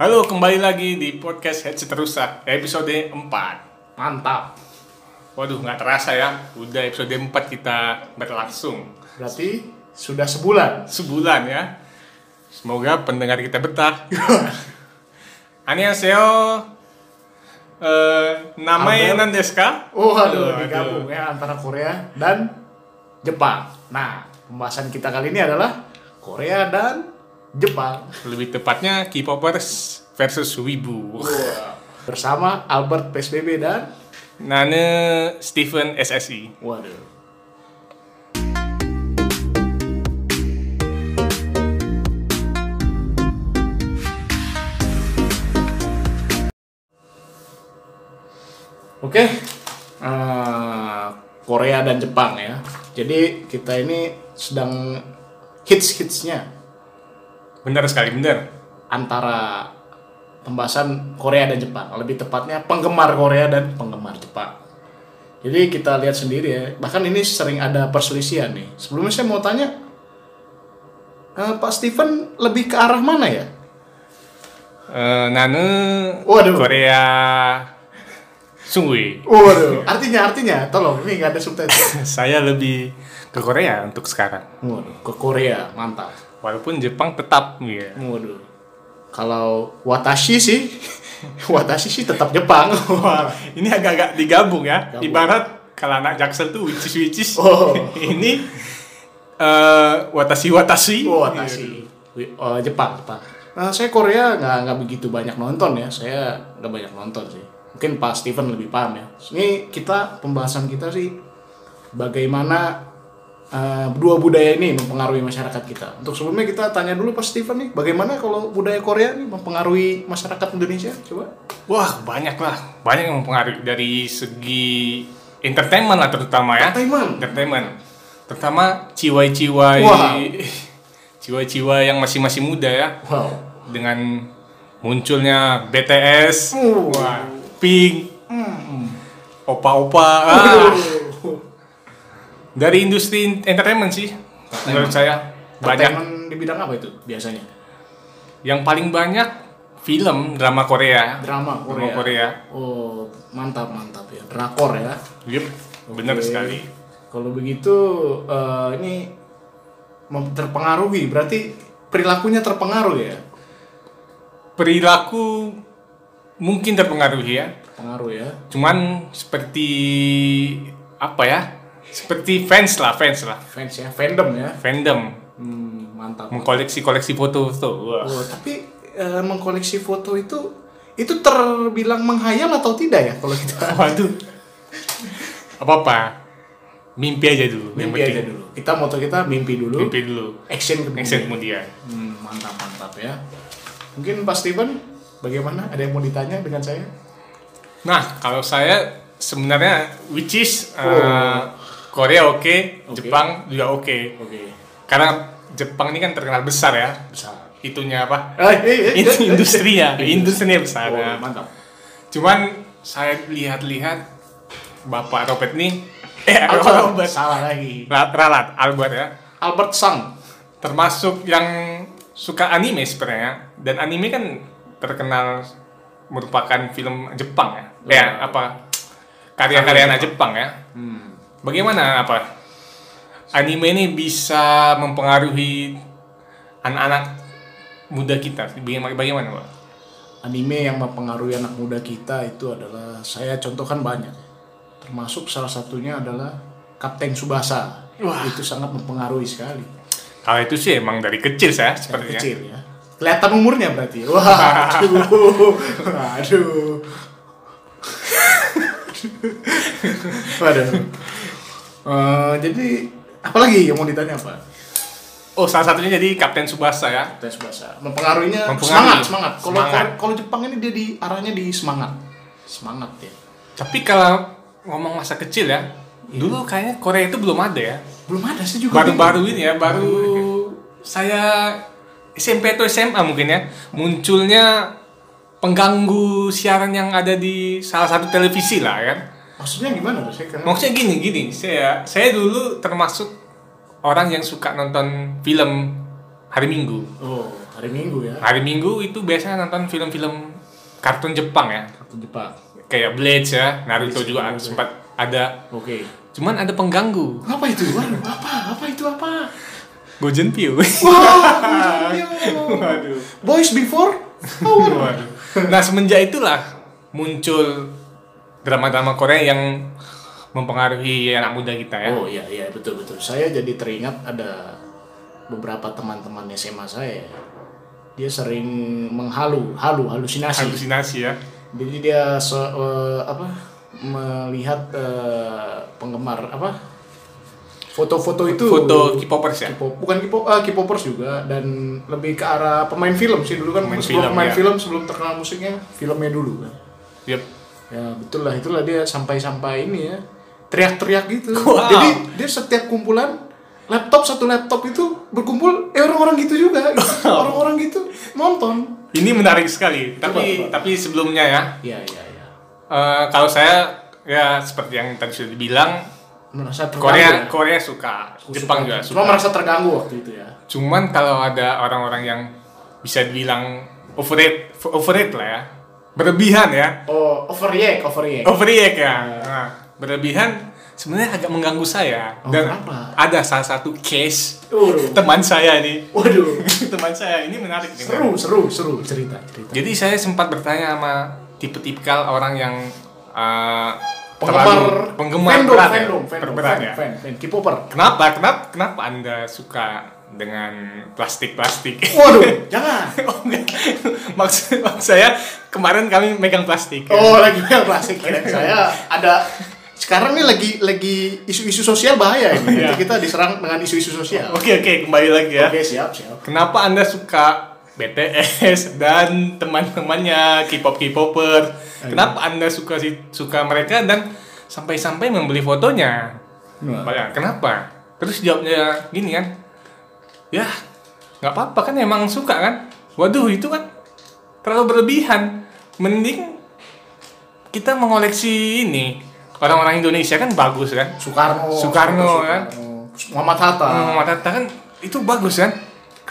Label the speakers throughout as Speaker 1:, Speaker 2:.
Speaker 1: Halo, kembali lagi di podcast Headset Rusak episode 4
Speaker 2: Mantap.
Speaker 1: Waduh, nggak terasa ya, udah episode 4 kita berlangsung
Speaker 2: Berarti sudah sebulan.
Speaker 1: Sebulan ya Semoga pendengar kita betah Annyeonghaseyo Eh, namanya
Speaker 2: Ambil.
Speaker 1: Nandeska
Speaker 2: Oh, aduh, digabung ya antara Korea dan Jepang. Nah, pembahasan kita kali ini adalah Korea dan Jepang
Speaker 1: Lebih tepatnya K-popers versus Wibu
Speaker 2: bersama Albert PSBB dan
Speaker 1: Nane Steven SSI
Speaker 2: waduh. Oke, eh, Korea dan Jepang ya. Jadi kita ini sedang hits-hitsnya
Speaker 1: Benar sekali, benar
Speaker 2: antara pembahasan Korea dan Jepang. Lebih tepatnya penggemar Korea dan penggemar Jepang. Jadi kita lihat sendiri ya. Bahkan ini sering ada perselisihan nih. Sebelumnya saya mau tanya, eh, Pak Steven lebih ke arah mana ya?
Speaker 1: Eh, Nane
Speaker 2: Waduh.
Speaker 1: Korea Sungguh
Speaker 2: Waduh, artinya artinya tolong ini nggak ada subtitle.
Speaker 1: saya lebih ke Korea untuk sekarang.
Speaker 2: Waduh, ke Korea mantap.
Speaker 1: Walaupun Jepang tetap ya.
Speaker 2: Waduh. Kalau Watashi sih, Watashi sih tetap Jepang.
Speaker 1: Wah, ini agak-agak digabung ya.
Speaker 2: Gabung.
Speaker 1: Ibarat kalau anak jaksel tuh wicis wicis.
Speaker 2: Oh.
Speaker 1: ini eh watashi watashi.
Speaker 2: Oh, Watashi. Wi- oh, Jepang, Jepang. Nah, saya Korea nggak nggak begitu banyak nonton ya. Saya nggak banyak nonton sih. Mungkin Pak Steven lebih paham ya. Ini kita pembahasan kita sih bagaimana eh, dua budaya ini mempengaruhi masyarakat kita. Untuk sebelumnya kita tanya dulu Pak Steven nih, bagaimana kalau budaya Korea ini mempengaruhi masyarakat Indonesia? Coba.
Speaker 1: Wah banyak lah, banyak yang mempengaruhi dari segi entertainment lah terutama ya.
Speaker 2: Entertainment.
Speaker 1: Entertainment. Terutama ciwai-ciwai,
Speaker 2: Wah.
Speaker 1: ciwai-ciwai yang masih masih muda ya.
Speaker 2: Wow.
Speaker 1: dengan munculnya BTS,
Speaker 2: Uh.
Speaker 1: wah, Pink, Hmm. opa-opa, ah. dari industri entertainment sih, menurut saya banyak.
Speaker 2: Entertainment di bidang apa itu biasanya?
Speaker 1: Yang paling banyak film drama Korea,
Speaker 2: Drama
Speaker 1: drama
Speaker 2: Korea.
Speaker 1: Korea,
Speaker 2: Oh, mantap mantap ya. Drakor ya.
Speaker 1: Yup, benar
Speaker 2: Oke.
Speaker 1: sekali.
Speaker 2: Kalau begitu eh, ini mem- terpengaruhi, berarti perilakunya terpengaruh ya?
Speaker 1: Perilaku mungkin terpengaruhi ya,
Speaker 2: Terpengaruh ya.
Speaker 1: cuman seperti apa ya? Seperti fans lah, fans lah,
Speaker 2: Fans ya, fandom ya.
Speaker 1: fandom
Speaker 2: Hmm, mantap.
Speaker 1: mengkoleksi-koleksi foto tuh. wah.
Speaker 2: Oh, tapi eh, mengkoleksi foto itu itu terbilang menghayal atau tidak ya kalau kita
Speaker 1: Waduh. Apa apa? Mimpi aja dulu. yang
Speaker 2: mimpi
Speaker 1: penting.
Speaker 2: aja dulu. Kita moto kita mimpi dulu,
Speaker 1: Mimpi dulu.
Speaker 2: action kemudian.
Speaker 1: Next kemudian.
Speaker 2: Hmm, mantap mantap ya. Mungkin Pak Steven bagaimana? Ada yang mau ditanya dengan saya?
Speaker 1: Nah, kalau saya sebenarnya which is uh,
Speaker 2: Oh.
Speaker 1: Korea oke,
Speaker 2: Oke.
Speaker 1: Jepang juga oke.
Speaker 2: Oke,
Speaker 1: Karena Jepang ini kan terkenal besar ya.
Speaker 2: besar.
Speaker 1: Itunya apa?
Speaker 2: Eh, eh, eh, eh, eh.
Speaker 1: industrinya, industrinya besar.
Speaker 2: Oh,
Speaker 1: ya.
Speaker 2: mantap.
Speaker 1: Cuman saya lihat-lihat Bapak Robert nih eh
Speaker 2: Albert.
Speaker 1: Robert
Speaker 2: Salah lagi.
Speaker 1: Ra- Ralat Albert ya.
Speaker 2: Albert Sang.
Speaker 1: termasuk yang suka anime sebenarnya dan anime kan terkenal merupakan film Jepang ya ya
Speaker 2: Betul.
Speaker 1: apa karya-karya anak Jepang ya bagaimana apa anime ini bisa mempengaruhi anak-anak muda kita bagaimana bagaimana Pak?
Speaker 2: Anime yang mempengaruhi anak muda kita itu adalah saya contohkan banyak. Termasuk salah satunya adalah Kapten Subasa. Itu sangat mempengaruhi sekali.
Speaker 1: kalau itu sih emang dari kecil saya
Speaker 2: Dari
Speaker 1: sepertinya
Speaker 2: kecil ya. Kelihatan umurnya berarti. ya. Wah, aduh. Aduh. Waduh. Eh, jadi apalagi yang mau ditanya apa?
Speaker 1: oh salah satunya jadi Kapten Subasa ya
Speaker 2: Tes bahasa. Mempengaruhinya
Speaker 1: Mempengaruhi.
Speaker 2: semangat, semangat. Kalau
Speaker 1: Semangat.
Speaker 2: kalau Jepang ini dia di arahnya di semangat. Semangat ya.
Speaker 1: tapi kalau ngomong masa kecil ya dulu kayaknya Korea itu belum ada ya
Speaker 2: Belum ada sih juga.
Speaker 1: baru-baru ini ya baru saya SMP atau SMA mungkin ya munculnya pengganggu siaran yang ada di salah satu televisi lah kan
Speaker 2: Maksudnya gimana tuh? Saya kan.
Speaker 1: maksudnya gini gini saya saya dulu termasuk orang yang suka nonton film hari Minggu
Speaker 2: Oh. hari Minggu ya
Speaker 1: Hari Minggu itu biasanya nonton film-film kartun Jepang ya.
Speaker 2: kartun Jepang.
Speaker 1: Kayak Blade ya, Naruto
Speaker 2: Bleach,
Speaker 1: juga
Speaker 2: Naruto.
Speaker 1: sempat ada.
Speaker 2: Oke.
Speaker 1: Cuman ada pengganggu.
Speaker 2: Apa itu? Waduh, apa? Apa itu apa?
Speaker 1: Gojen Pio.
Speaker 2: Wah, Waduh. iya. Boys before Oh, power.
Speaker 1: nah, semenjak itulah muncul drama-drama Korea yang mempengaruhi anak muda kita ya.
Speaker 2: Oh iya iya betul betul. Saya jadi teringat ada beberapa teman-teman SMA saya. Dia sering menghalu, halu, halusinasi.
Speaker 1: Halusinasi ya.
Speaker 2: Jadi dia se- eh, apa melihat eh, penggemar apa foto-foto itu
Speaker 1: Foto K-popers ya.
Speaker 2: K-pop bukan K-pop ah, K-popers juga dan lebih ke arah pemain film sih dulu kan
Speaker 1: Pemain
Speaker 2: sebelum
Speaker 1: film,
Speaker 2: pemain
Speaker 1: ya.
Speaker 2: film sebelum terkenal musiknya filmnya dulu kan
Speaker 1: Yep.
Speaker 2: ya betul lah itulah dia sampai-sampai ini ya teriak-teriak gitu
Speaker 1: Wow.
Speaker 2: jadi dia setiap kumpulan laptop satu laptop itu berkumpul eh orang-orang gitu juga gitu. orang-orang gitu nonton
Speaker 1: Ini menarik sekali. tapi
Speaker 2: coba.
Speaker 1: tapi sebelumnya ya,
Speaker 2: ya ya ya
Speaker 1: eh, kalau saya ya seperti yang tadi sudah dibilang
Speaker 2: merasa
Speaker 1: Korea
Speaker 2: terganggu ya?
Speaker 1: Korea suka,
Speaker 2: Aku
Speaker 1: Jepang
Speaker 2: suka.
Speaker 1: juga
Speaker 2: Cuma
Speaker 1: suka.
Speaker 2: merasa terganggu waktu itu ya.
Speaker 1: Cuman kalau ada orang-orang yang bisa dibilang overrate overrate lah ya. Berlebihan ya.
Speaker 2: Oh, overreact, overreact.
Speaker 1: Overreact ya. Nah, berlebihan sebenarnya agak mengganggu saya
Speaker 2: Oh,
Speaker 1: dan
Speaker 2: kenapa?
Speaker 1: ada salah satu case
Speaker 2: Waduh.
Speaker 1: teman saya ini.
Speaker 2: Waduh.
Speaker 1: teman saya ini menarik nih.
Speaker 2: Seru, seru, seru cerita, cerita.
Speaker 1: Jadi saya sempat bertanya sama tipe-tipikal orang yang uh, terlalu penggemar
Speaker 2: Penggemar fandom,
Speaker 1: berat ya,
Speaker 2: fandom, fandom,
Speaker 1: perberat
Speaker 2: fan,
Speaker 1: ya.
Speaker 2: fan, fan, K-popper.
Speaker 1: Kenapa? Kenapa? Kenapa Anda suka dengan plastik-plastik?
Speaker 2: Waduh, jangan.
Speaker 1: Oh, enggak. maksud, maksud saya kemarin kami megang plastik. ya.
Speaker 2: Oh, lagi yang klasik keren. Saya ada sekarang nih lagi lagi isu-isu sosial bahaya ini.
Speaker 1: Iya.
Speaker 2: Nanti kita diserang dengan isu-isu sosial.
Speaker 1: Oke oke kembali lagi ya.
Speaker 2: Oke, siap, siap.
Speaker 1: Kenapa Anda suka BTS dan teman-temannya K-pop K-popper? Kenapa Anda suka si- suka mereka dan sampai-sampai membeli fotonya?
Speaker 2: Nah.
Speaker 1: Bayang, kenapa? Terus jawabnya gini kan, ya nggak apa-apa kan emang suka kan? Waduh itu kan terlalu berlebihan. Mending kita mengoleksi ini orang-orang Indonesia kan bagus kan?
Speaker 2: Soekarno,
Speaker 1: Soekarno, kan?
Speaker 2: Soekarno. Muhammad Hatta.
Speaker 1: Muhammad Hatta kan itu bagus kan?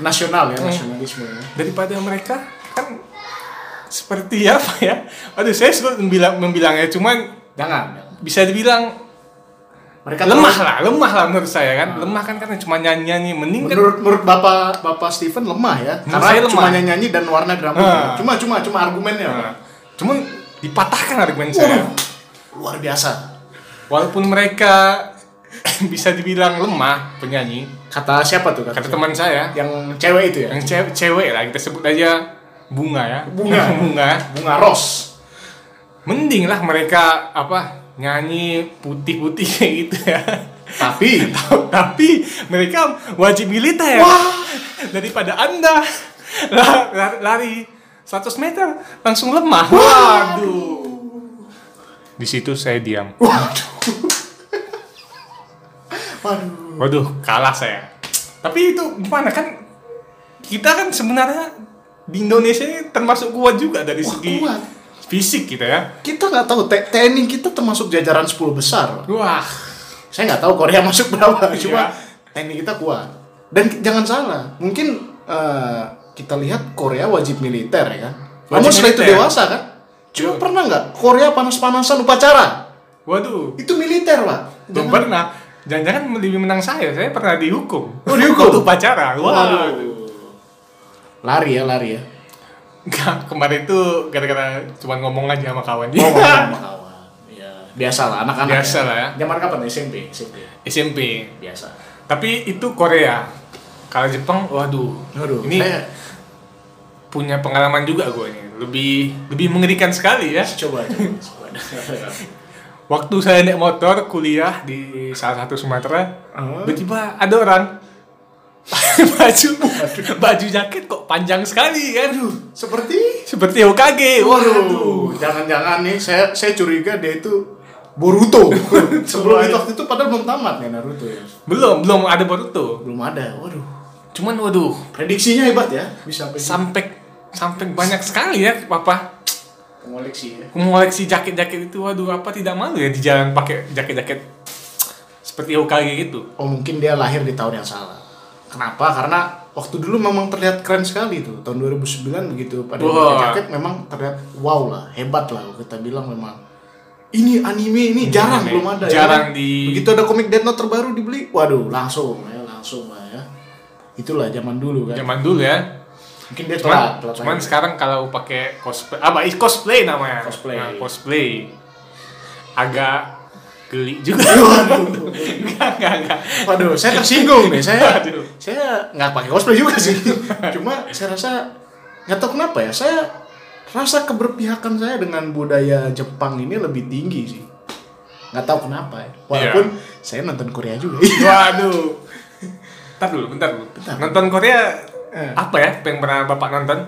Speaker 2: Nasional ya, nasionalisme. ya.
Speaker 1: daripada mereka kan seperti apa ya? Aduh saya sulit membilang membilangnya cuman
Speaker 2: Jangan. jangan.
Speaker 1: bisa dibilang
Speaker 2: Mereka
Speaker 1: lemah lah, lemah lah menurut saya kan. Lemah kan karena cuma nyanyi-nyanyi mending kan
Speaker 2: Ah. menurut menurut bapak bapak Steven lemah ya
Speaker 1: Menurut
Speaker 2: karena
Speaker 1: saya lemah.
Speaker 2: cuma nyanyi dan warna drama
Speaker 1: Ah.
Speaker 2: cuma cuma cuma argumennya
Speaker 1: Nah, cuman dipatahkan argumen
Speaker 2: Uh.
Speaker 1: saya.
Speaker 2: luar biasa
Speaker 1: Walaupun mereka bisa dibilang lemah penyanyi,
Speaker 2: kata siapa tuh
Speaker 1: kata teman saya
Speaker 2: yang cewek itu ya
Speaker 1: yang cewek, cewek lah kita sebut aja bunga ya.
Speaker 2: Bunga.
Speaker 1: bunga.
Speaker 2: bunga ros
Speaker 1: Mending lah mereka apa nyanyi putih-putih kayak gitu ya.
Speaker 2: tapi
Speaker 1: tapi mereka wajib militer daripada anda la- la- lari 100 meter langsung lemah waduh di situ saya diam
Speaker 2: waduh
Speaker 1: waduh kalah saya tapi itu gimana kan kita kan sebenarnya di Indonesia ini termasuk kuat juga dari
Speaker 2: Wah,
Speaker 1: segi
Speaker 2: kuat.
Speaker 1: fisik kita ya
Speaker 2: kita nggak tahu T- TNI kita termasuk jajaran 10 besar
Speaker 1: wah
Speaker 2: saya nggak tahu Korea masuk berapa
Speaker 1: Iya.
Speaker 2: cuma TNI kita kuat dan ki- jangan salah mungkin eh, kita lihat Korea wajib militer ya kan
Speaker 1: Wajib
Speaker 2: namun setelah itu
Speaker 1: militer.
Speaker 2: dewasa kan cuma pernah nggak Korea panas-panasan upacara
Speaker 1: waduh
Speaker 2: Itu militer, Pak.
Speaker 1: belum pernah jangan-jangan lebih menang saya saya pernah dihukum
Speaker 2: Oh, dihukum?
Speaker 1: Waktu pacaran wah
Speaker 2: Lari ya, lari ya.
Speaker 1: Enggak, kemarin tuh gara-gara cuma ngomong aja sama kawan dia.
Speaker 2: Oh, sama kawan. Ya, biasa lah anak-anak.
Speaker 1: Biasa lah ya.
Speaker 2: Zaman kapan SMP? SMP.
Speaker 1: SMP.
Speaker 2: Biasa.
Speaker 1: Tapi itu Korea. Kalau Jepang, waduh.
Speaker 2: Aduh,
Speaker 1: ini
Speaker 2: saya
Speaker 1: punya pengalaman juga gue ini. Lebih lebih mengerikan sekali ya.
Speaker 2: coba coba. coba.
Speaker 1: Waktu saya naik motor kuliah di salah satu Sumatera,
Speaker 2: Oh.
Speaker 1: tiba-tiba ada orang baju baju jaket kok panjang sekali kan.
Speaker 2: Seperti
Speaker 1: Seperti Hokage. Waduh.
Speaker 2: Waduh, jangan-jangan nih saya saya curiga dia itu Boruto. Sebelum itu waktu itu padahal belum tamat ya Naruto ya.
Speaker 1: Belum, belum ada Boruto.
Speaker 2: Belum ada. Waduh.
Speaker 1: Cuman waduh,
Speaker 2: Prediksinya hebat ya. Bisa prediksi.
Speaker 1: sampai sampai banyak sekali ya papa
Speaker 2: Mengoleksi ya.
Speaker 1: mengoleksi jaket-jaket itu waduh apa tidak malu ya di jalan pakai jaket-jaket seperti Hokage gitu
Speaker 2: Oh mungkin dia lahir di tahun yang salah. Kenapa? Karena waktu dulu memang terlihat keren sekali tuh tahun 2009 begitu pada
Speaker 1: Wah.
Speaker 2: pakai jaket memang terlihat wow lah hebat lah kalau kita bilang memang ini anime ini jarang
Speaker 1: anime.
Speaker 2: belum ada
Speaker 1: Jarang
Speaker 2: ya. kan?
Speaker 1: di-
Speaker 2: begitu ada komik Death Note terbaru dibeli waduh langsung ya langsung lah ya itulah zaman dulu kan
Speaker 1: Zaman dulu ya.
Speaker 2: mungkin dia
Speaker 1: Cuman,
Speaker 2: telat telat
Speaker 1: cuman
Speaker 2: lagi.
Speaker 1: sekarang kalau pakai cosplay, apa is cosplay namanya?
Speaker 2: Cosplay.
Speaker 1: Nah, cosplay. Agak geli juga. enggak, enggak, enggak.
Speaker 2: Waduh, saya tersinggung nih. Saya
Speaker 1: Waduh.
Speaker 2: saya nggak pakai cosplay juga sih. Cuma saya rasa nggak tahu kenapa ya. Saya rasa keberpihakan saya dengan budaya Jepang ini lebih tinggi sih. Nggak tahu kenapa ya. Walaupun saya nonton Korea juga.
Speaker 1: Waduh. Bentar dulu, bentar dulu.
Speaker 2: Bentar.
Speaker 1: Nonton Korea
Speaker 2: Eh.
Speaker 1: apa ya? Yang pernah Bapak nonton?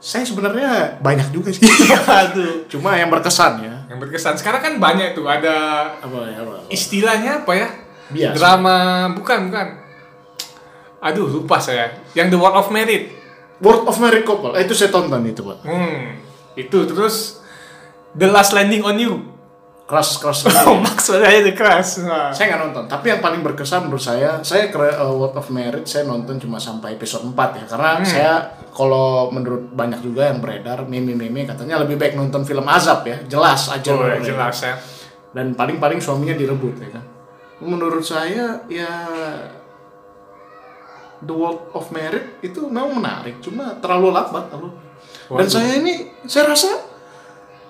Speaker 2: saya sebenarnya banyak juga sih.
Speaker 1: Waduh.
Speaker 2: Cuma yang berkesan ya.
Speaker 1: Yang berkesan sekarang kan banyak tuh ada
Speaker 2: Apa ya? Apa, apa.
Speaker 1: istilahnya apa ya?
Speaker 2: Bias.
Speaker 1: Drama bukan, bukan. Aduh, lupa saya. Yang The World of Merit.
Speaker 2: World of Married Couple. Eh, itu saya tonton itu, Pak.
Speaker 1: Hmm. Itu terus The Last Landing on You.
Speaker 2: Keras keras.
Speaker 1: Oh, maksudnya itu keras. Nah.
Speaker 2: saya nggak nonton tapi yang paling berkesan menurut saya saya ke uh, World of Merit saya nonton cuma sampai episode 4 ya karena
Speaker 1: Hmm.
Speaker 2: saya kalau menurut banyak juga yang beredar meme-meme katanya lebih baik nonton film azab ya jelas aja
Speaker 1: Oh,
Speaker 2: ngomongnya.
Speaker 1: jelas ya.
Speaker 2: dan paling-paling suaminya direbut ya kan menurut saya ya The World of Merit itu memang menarik cuma terlalu lambat lalu dan
Speaker 1: Waduh.
Speaker 2: saya ini saya rasa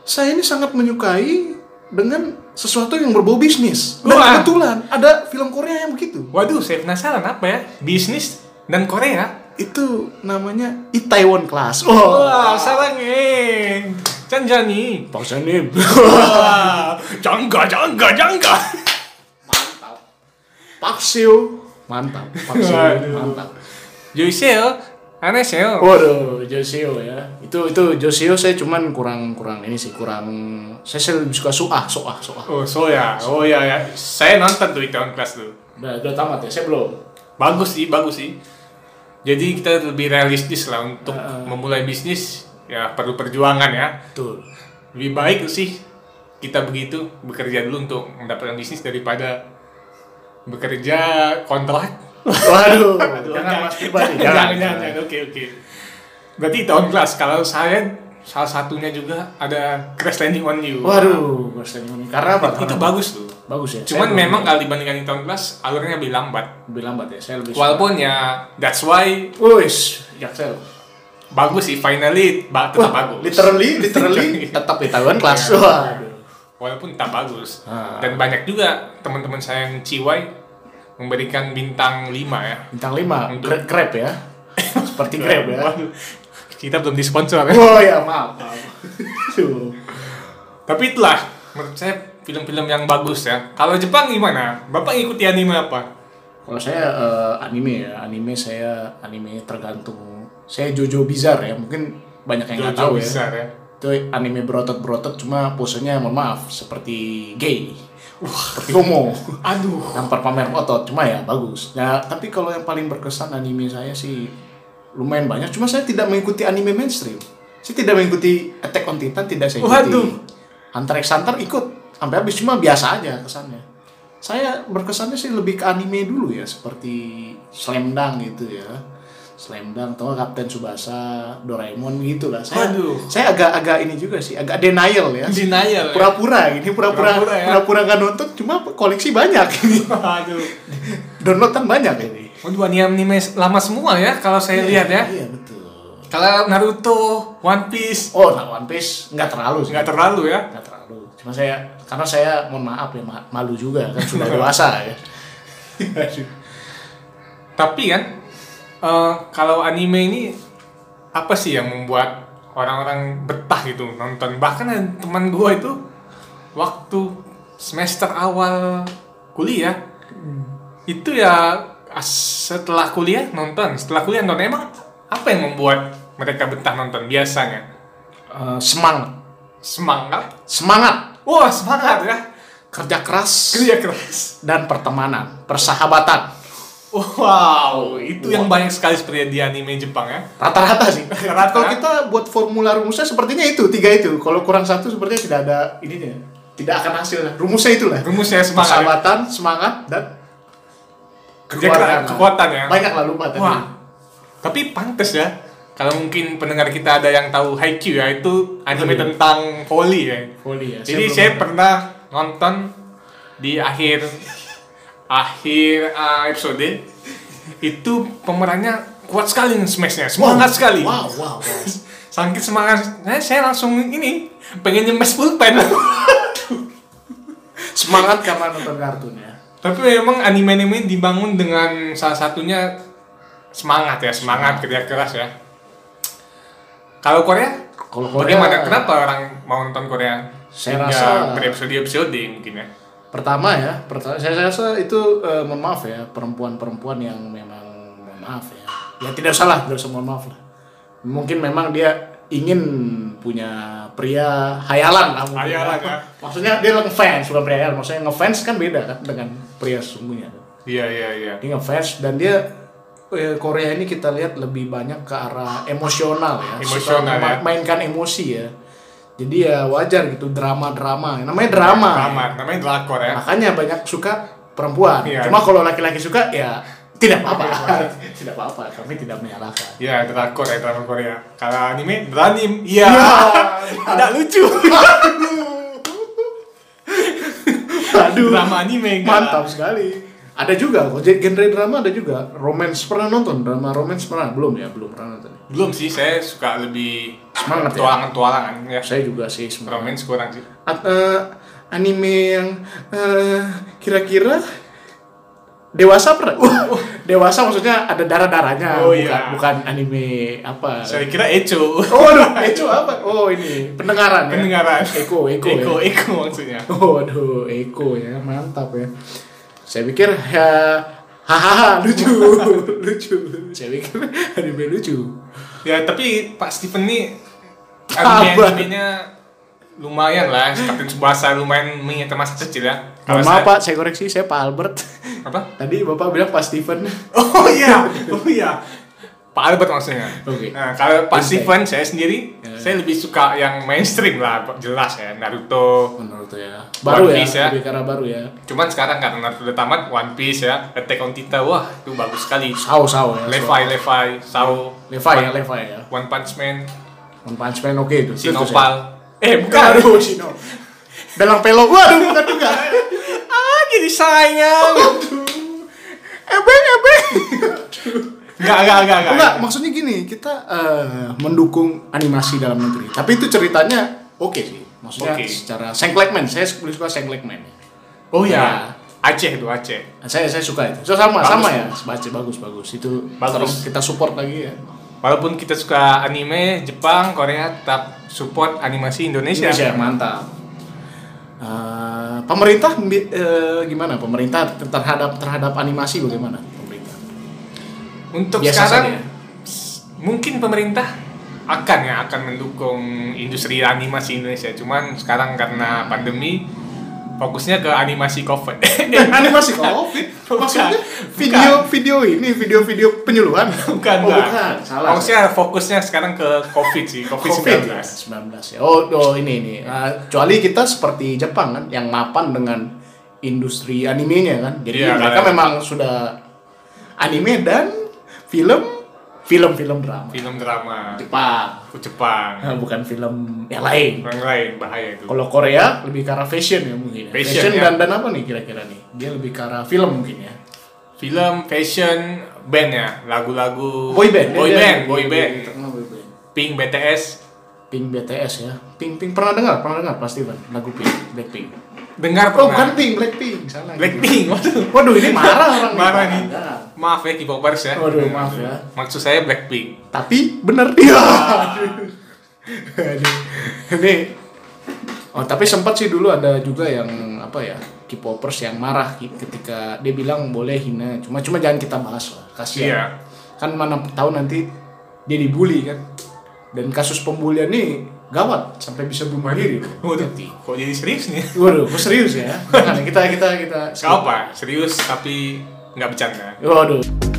Speaker 2: saya ini sangat menyukai dengan sesuatu yang berbau bisnis dan
Speaker 1: Wah.
Speaker 2: kebetulan ada film Korea yang begitu
Speaker 1: Waduh, saya penasaran apa ya? Bisnis dan Korea.
Speaker 2: itu namanya Itaewon Class oh
Speaker 1: Wah, sarangeng. Canjani.
Speaker 2: Bangsa ini
Speaker 1: Wah, jangga, jangga, jangga.
Speaker 2: mantap Park Seo mantap Park Seo
Speaker 1: Waduh.
Speaker 2: mantap
Speaker 1: Joycel,
Speaker 2: Oh.
Speaker 1: Anesel.
Speaker 2: Waduh, Josio ya. Itu itu Josio saya cuman kurang kurang ini sih kurang saya, saya lebih suka soah soah soah.
Speaker 1: Oh, Soya. Oh ya ya. Saya nonton tuh itu on class tuh.
Speaker 2: Udah, udah tamat ya, saya belum.
Speaker 1: Bagus sih, bagus sih. Jadi kita lebih realistis lah untuk
Speaker 2: Heeh.
Speaker 1: memulai bisnis ya perlu perjuangan ya.
Speaker 2: Betul.
Speaker 1: Lebih baik sih kita begitu bekerja dulu untuk mendapatkan bisnis daripada bekerja kontrak.
Speaker 2: Waduh, jangan mas pribadi.
Speaker 1: Jangan, jangan, jangan. Oke, oke. Berarti itu on class. Kalau saya salah satunya juga ada crash landing on you.
Speaker 2: Waduh, Mas Tenguni. Karena apa?
Speaker 1: Itu
Speaker 2: Karena-
Speaker 1: bagus tuh.
Speaker 2: bagus ya.
Speaker 1: Cuman
Speaker 2: saya
Speaker 1: memang kalau dibandingkan di tahun kelas alurnya lebih lambat.
Speaker 2: lebih lambat ya, saya lebih.
Speaker 1: Walaupun ya that's why
Speaker 2: Wis, ya, jaksel.
Speaker 1: bagus sih finally ba tetap bagus.
Speaker 2: Literally, literally tetap di Taiwan kelas.
Speaker 1: Iya.
Speaker 2: Waduh.
Speaker 1: Walaupun tetap bagus.
Speaker 2: Ah.
Speaker 1: Dan banyak juga teman-teman saya yang ciwai memberikan bintang 5 ya.
Speaker 2: Bintang 5,
Speaker 1: Untuk-
Speaker 2: Gra- Grab ya. Seperti Grab ya.
Speaker 1: Waduh, Kita belum disponsor ya.
Speaker 2: Oh ya, maaf. maaf. Aduh.
Speaker 1: Tapi itulah menurut saya film-film yang bagus ya. Kalau Jepang gimana? Bapak ikuti anime apa?
Speaker 2: Kalau saya eh, anime ya, anime saya anime tergantung. Saya Jojo Bizarre ya, mungkin banyak yang nggak
Speaker 1: Jojo
Speaker 2: tahu ya.
Speaker 1: besar ya.
Speaker 2: Itu anime berotot-berotot, cuma posenya mohon maaf seperti gay, seperti homo,
Speaker 1: Aduh.
Speaker 2: nampar pamer otot, cuma ya bagus. Nah, tapi kalau yang paling berkesan anime saya sih lumayan banyak, cuma saya tidak mengikuti anime mainstream. Saya tidak mengikuti Attack on Titan, tidak saya ikuti.
Speaker 1: Waduh.
Speaker 2: Hunter x Hunter ikut sampai habis cuma biasa aja kesannya. Saya berkesannya sih lebih ke anime dulu ya, seperti Slam Dunk gitu ya. Slam Dunk atau nggak Kapten Subasa, Doraemon gitu lah. Saya,
Speaker 1: Waduh.
Speaker 2: saya agak-agag ini juga sih, agak denial ya.
Speaker 1: Denial. ya.
Speaker 2: Pura-pura ini, pura-pura
Speaker 1: Pura-pura ya.
Speaker 2: pura-pura nggak nonton, cuma koleksi banyak ini.
Speaker 1: Aduh.
Speaker 2: Downloadan kan banyak ya ini.
Speaker 1: Waduh, anime lama semua ya kalau saya lihat ya.
Speaker 2: Iya betul.
Speaker 1: Kalau Naruto, One Piece
Speaker 2: Oh, nah One Piece nggak terlalu sih.
Speaker 1: nggak terlalu ya.
Speaker 2: nggak terlalu cuma saya karena saya mohon maaf ya ma- malu juga kan sudah dewasa ya
Speaker 1: Iya, Tapi kan eh, kalau anime ini apa sih yang membuat orang-orang betah gitu nonton? Bahkan ada teman gua itu waktu semester awal kuliah itu ya as- setelah kuliah nonton, setelah kuliah nonton emang apa yang membuat mereka betah nonton biasanya?
Speaker 2: Eh, semangat
Speaker 1: Semangat.
Speaker 2: semangat
Speaker 1: Wah, semangat ya.
Speaker 2: kerja keras
Speaker 1: Kerja keras.
Speaker 2: dan pertemanan persahabatan
Speaker 1: Wow, itu yang banyak sekali seperti di anime Jepang ya.
Speaker 2: rata-rata sih
Speaker 1: Rata.
Speaker 2: kalau kita buat formula rumusnya sepertinya itu tiga itu kalau kurang satu sepertinya tidak ada ininya tidak akan hasil rumusnya itulah
Speaker 1: Rumusnya semangat. ya.
Speaker 2: persahabatan semangat dan
Speaker 1: Kerja keras,
Speaker 2: keluarga.
Speaker 1: kekuatan ya.
Speaker 2: banyak lah lupa tadi
Speaker 1: Wah, Tapi pantas ya. Kalau mungkin pendengar kita ada yang tahu Haikyuu ya, itu anime tentang volley ya.
Speaker 2: Volley ya.
Speaker 1: Jadi
Speaker 2: belum
Speaker 1: saya
Speaker 2: nonton.
Speaker 1: pernah nonton di akhir akhir uh, episode itu pemerannya kuat sekali nih smashnya, semangat
Speaker 2: Wow,
Speaker 1: sekali.
Speaker 2: Wow, wow, wow.
Speaker 1: Saking semangatnya saya langsung ini pengen nyemes pulpen.
Speaker 2: Semangat karena nonton kartun ya.
Speaker 1: Tapi memang anime-anime dibangun dengan salah satunya semangat ya, semangat kerja keras ya. Kalau Korea,
Speaker 2: Kalau Korea-
Speaker 1: bagaimana? Kenapa orang mau nonton Korea?
Speaker 2: Saya
Speaker 1: Hingga
Speaker 2: rasa-
Speaker 1: berepisode-episode mungkin ya.
Speaker 2: Pertama ya, pertama saya saya rasa itu eh, mohon maaf ya perempuan-perempuan yang memang mohon maaf ya. Ya tidak salah, tidak usah mohon maaf lah. Mungkin memang dia ingin punya pria hayalan lah mungkin.
Speaker 1: Hayalan, ya.
Speaker 2: Maksudnya dia ngefans bukan pria hayalan. Maksudnya ngefans kan beda kan dengan pria sesungguhnya.
Speaker 1: Iya iya iya.
Speaker 2: Dia ngefans dan dia eh, Korea ini kita lihat lebih banyak ke arah emosional ya. Suka
Speaker 1: Emosional, ya.
Speaker 2: mainkan emosi ya. Jadi ya wajar gitu drama-drama. Namanya drama.
Speaker 1: Drama, namanya drakor ya.
Speaker 2: Makanya banyak suka perempuan.
Speaker 1: Iya.
Speaker 2: Cuma kalau laki-laki suka ya tidak apa-apa. tidak apa-apa, kami tidak menyalahkan.
Speaker 1: Iya, drakor ya, drama Korea. Kalau anime, beranim. Iya. Tidak lucu.
Speaker 2: Aduh.
Speaker 1: drama anime. enggak.
Speaker 2: Mantap sekali. Ada juga kok gen- genre drama ada juga. Romance pernah nonton? Drama romance pernah? Belum ya, belum pernah nonton.
Speaker 1: Belum sih, saya suka lebih
Speaker 2: Semangat ya.
Speaker 1: tualangan-tualangan ya.
Speaker 2: Saya juga sih sebenarnya.
Speaker 1: Romance kurang sih.
Speaker 2: At- eh, anime yang eh, kira-kira dewasa pernah? dewasa maksudnya ada darah-darahnya,
Speaker 1: Oh,
Speaker 2: bukan,
Speaker 1: iya.
Speaker 2: bukan anime apa.
Speaker 1: Saya kira Echo.
Speaker 2: Oh, aduh, Eco apa? Oh, ini pendengaran. ya?
Speaker 1: Pendengaran.
Speaker 2: Eko, Eko.
Speaker 1: Iya. Eko,
Speaker 2: ya?
Speaker 1: Eko maksudnya.
Speaker 2: Oh, aduh, Eko ya, mantap ya. Saya pikir ya, hahaha, lucu, lucu. Saya pikir anime lucu.
Speaker 1: Ya, tapi Pak Steven nih
Speaker 2: Sabar.
Speaker 1: anime-animenya lumayan lah. Kapten Tsubasa lumayan mengingatkan masa kecil ya. Kalau
Speaker 2: Mohon maaf
Speaker 1: saya-
Speaker 2: Pak, saya koreksi, saya Pak Albert.
Speaker 1: Apa?
Speaker 2: Tadi Bapak bilang Pak Steven.
Speaker 1: Oh iya, oh iya. Pak Albert maksudnya.
Speaker 2: Oke.
Speaker 1: Nah, kalau Pak
Speaker 2: Insight.
Speaker 1: Steven saya sendiri,
Speaker 2: Ya.
Speaker 1: saya lebih suka yang mainstream lah, jelas ya Naruto.
Speaker 2: Menurut ya. Baru
Speaker 1: One
Speaker 2: ya,
Speaker 1: Piece ya.
Speaker 2: lebih karena baru ya.
Speaker 1: Cuman sekarang karena Naruto udah tamat, One Piece ya, Attack on Titan, wah itu bagus sekali.
Speaker 2: Sao, sao ya.
Speaker 1: Levi, Levi, Sao,
Speaker 2: Levi ya,
Speaker 1: One,
Speaker 2: Levi ya.
Speaker 1: One Punch Man,
Speaker 2: One Punch Man oke itu. itu. saya.
Speaker 1: Sinopal. Eh bukan,
Speaker 2: Aduh, Sino. Belang pelo. Waduh, bukan juga.
Speaker 1: ah jadi sayang.
Speaker 2: Ebeng, ebeng.
Speaker 1: Enggak, enggak, enggak, enggak.
Speaker 2: Enggak, maksudnya gini, kita eh, mendukung animasi dalam negeri. Tapi itu ceritanya oke sih. Maksudnya
Speaker 1: Oke.
Speaker 2: secara Sengklekman, saya lebih suka Sengklekman.
Speaker 1: Oh ya,
Speaker 2: Iya.
Speaker 1: Aceh itu Aceh.
Speaker 2: Saya saya suka itu. So, sama
Speaker 1: Bagus.
Speaker 2: sama ya. Baca bagus bagus. Itu
Speaker 1: Bagus.
Speaker 2: terus kita support lagi ya.
Speaker 1: Walaupun kita suka anime, Jepang, Korea, tetap support animasi Indonesia.
Speaker 2: Indonesia mantap. Eh, pemerintah mbi- eh, gimana? Pemerintah ter- terhadap terhadap animasi bagaimana? Pemerintah.
Speaker 1: Untuk
Speaker 2: Biasa
Speaker 1: sekarang
Speaker 2: saja.
Speaker 1: s- mungkin pemerintah akan ya akan mendukung industri animasi Indonesia. Cuman sekarang karena pandemi fokusnya ke animasi COVID.
Speaker 2: Eh, animasi COVID. Maksudnya
Speaker 1: Bukan.
Speaker 2: video video ini video-video penyuluhan.
Speaker 1: bukan,
Speaker 2: oh,
Speaker 1: Mbak.
Speaker 2: bukan. Salah.
Speaker 1: Fokusnya fokusnya sekarang ke COVID sih, COVID 19.
Speaker 2: COVID-19 ya. Oh, oh ini ini. Nah, kecuali kita seperti Jepang kan yang mapan dengan industri animenya kan. Jadi
Speaker 1: Iya,
Speaker 2: mereka
Speaker 1: kayak-
Speaker 2: memang sudah anime dan film film-film drama.
Speaker 1: Film drama
Speaker 2: Jepang.
Speaker 1: Jepang,
Speaker 2: Nah, bukan film yang lain.
Speaker 1: orang lain bahaya itu.
Speaker 2: Kalau Korea lebih ke arah fashion ya mungkin. ya.
Speaker 1: Fashion, ya.
Speaker 2: dan dan apa nih kira-kira nih? Dia lebih ke arah film mungkin ya.
Speaker 1: Film, fashion, band ya, lagu-lagu
Speaker 2: Boy band. iya,
Speaker 1: boy
Speaker 2: Dia- dia-
Speaker 1: band,
Speaker 2: dia-
Speaker 1: boy
Speaker 2: dia-
Speaker 1: band,
Speaker 2: dia- dia- boy band.
Speaker 1: Pink, BTS,
Speaker 2: Pink BTS ya. Pink Pink pernah dengar? Pernah dengar pasti Van lagu Pink Blackpink.
Speaker 1: dengar pernah?
Speaker 2: Oh, bukan Pink, Blackpink. Salah.
Speaker 1: Blackpink, waduh.
Speaker 2: Waduh, ini marah orang
Speaker 1: Marah nih.
Speaker 2: Marah.
Speaker 1: Maaf ya K-popers ya.
Speaker 2: Waduh, maaf ya.
Speaker 1: Maksud saya Blackpink.
Speaker 2: Tapi bener
Speaker 1: Iya.
Speaker 2: dia. Aduh. Ini Oh, tapi sempat sih dulu ada juga yang apa ya? K-popers yang marah ki- ketika dia bilang boleh hina, cuma cuma jangan kita bahas lah. Kasihan.
Speaker 1: Iya.
Speaker 2: Kan mana tahu nanti dia dibully kan. Dan kasus pembulian nih gawat sampai bisa bunuh diri.
Speaker 1: Waduh, kok jadi serius nih?
Speaker 2: Waduh, kok serius ya? Jangan, kita kita kita
Speaker 1: Gak apa, serius tapi nggak bercanda.
Speaker 2: Waduh.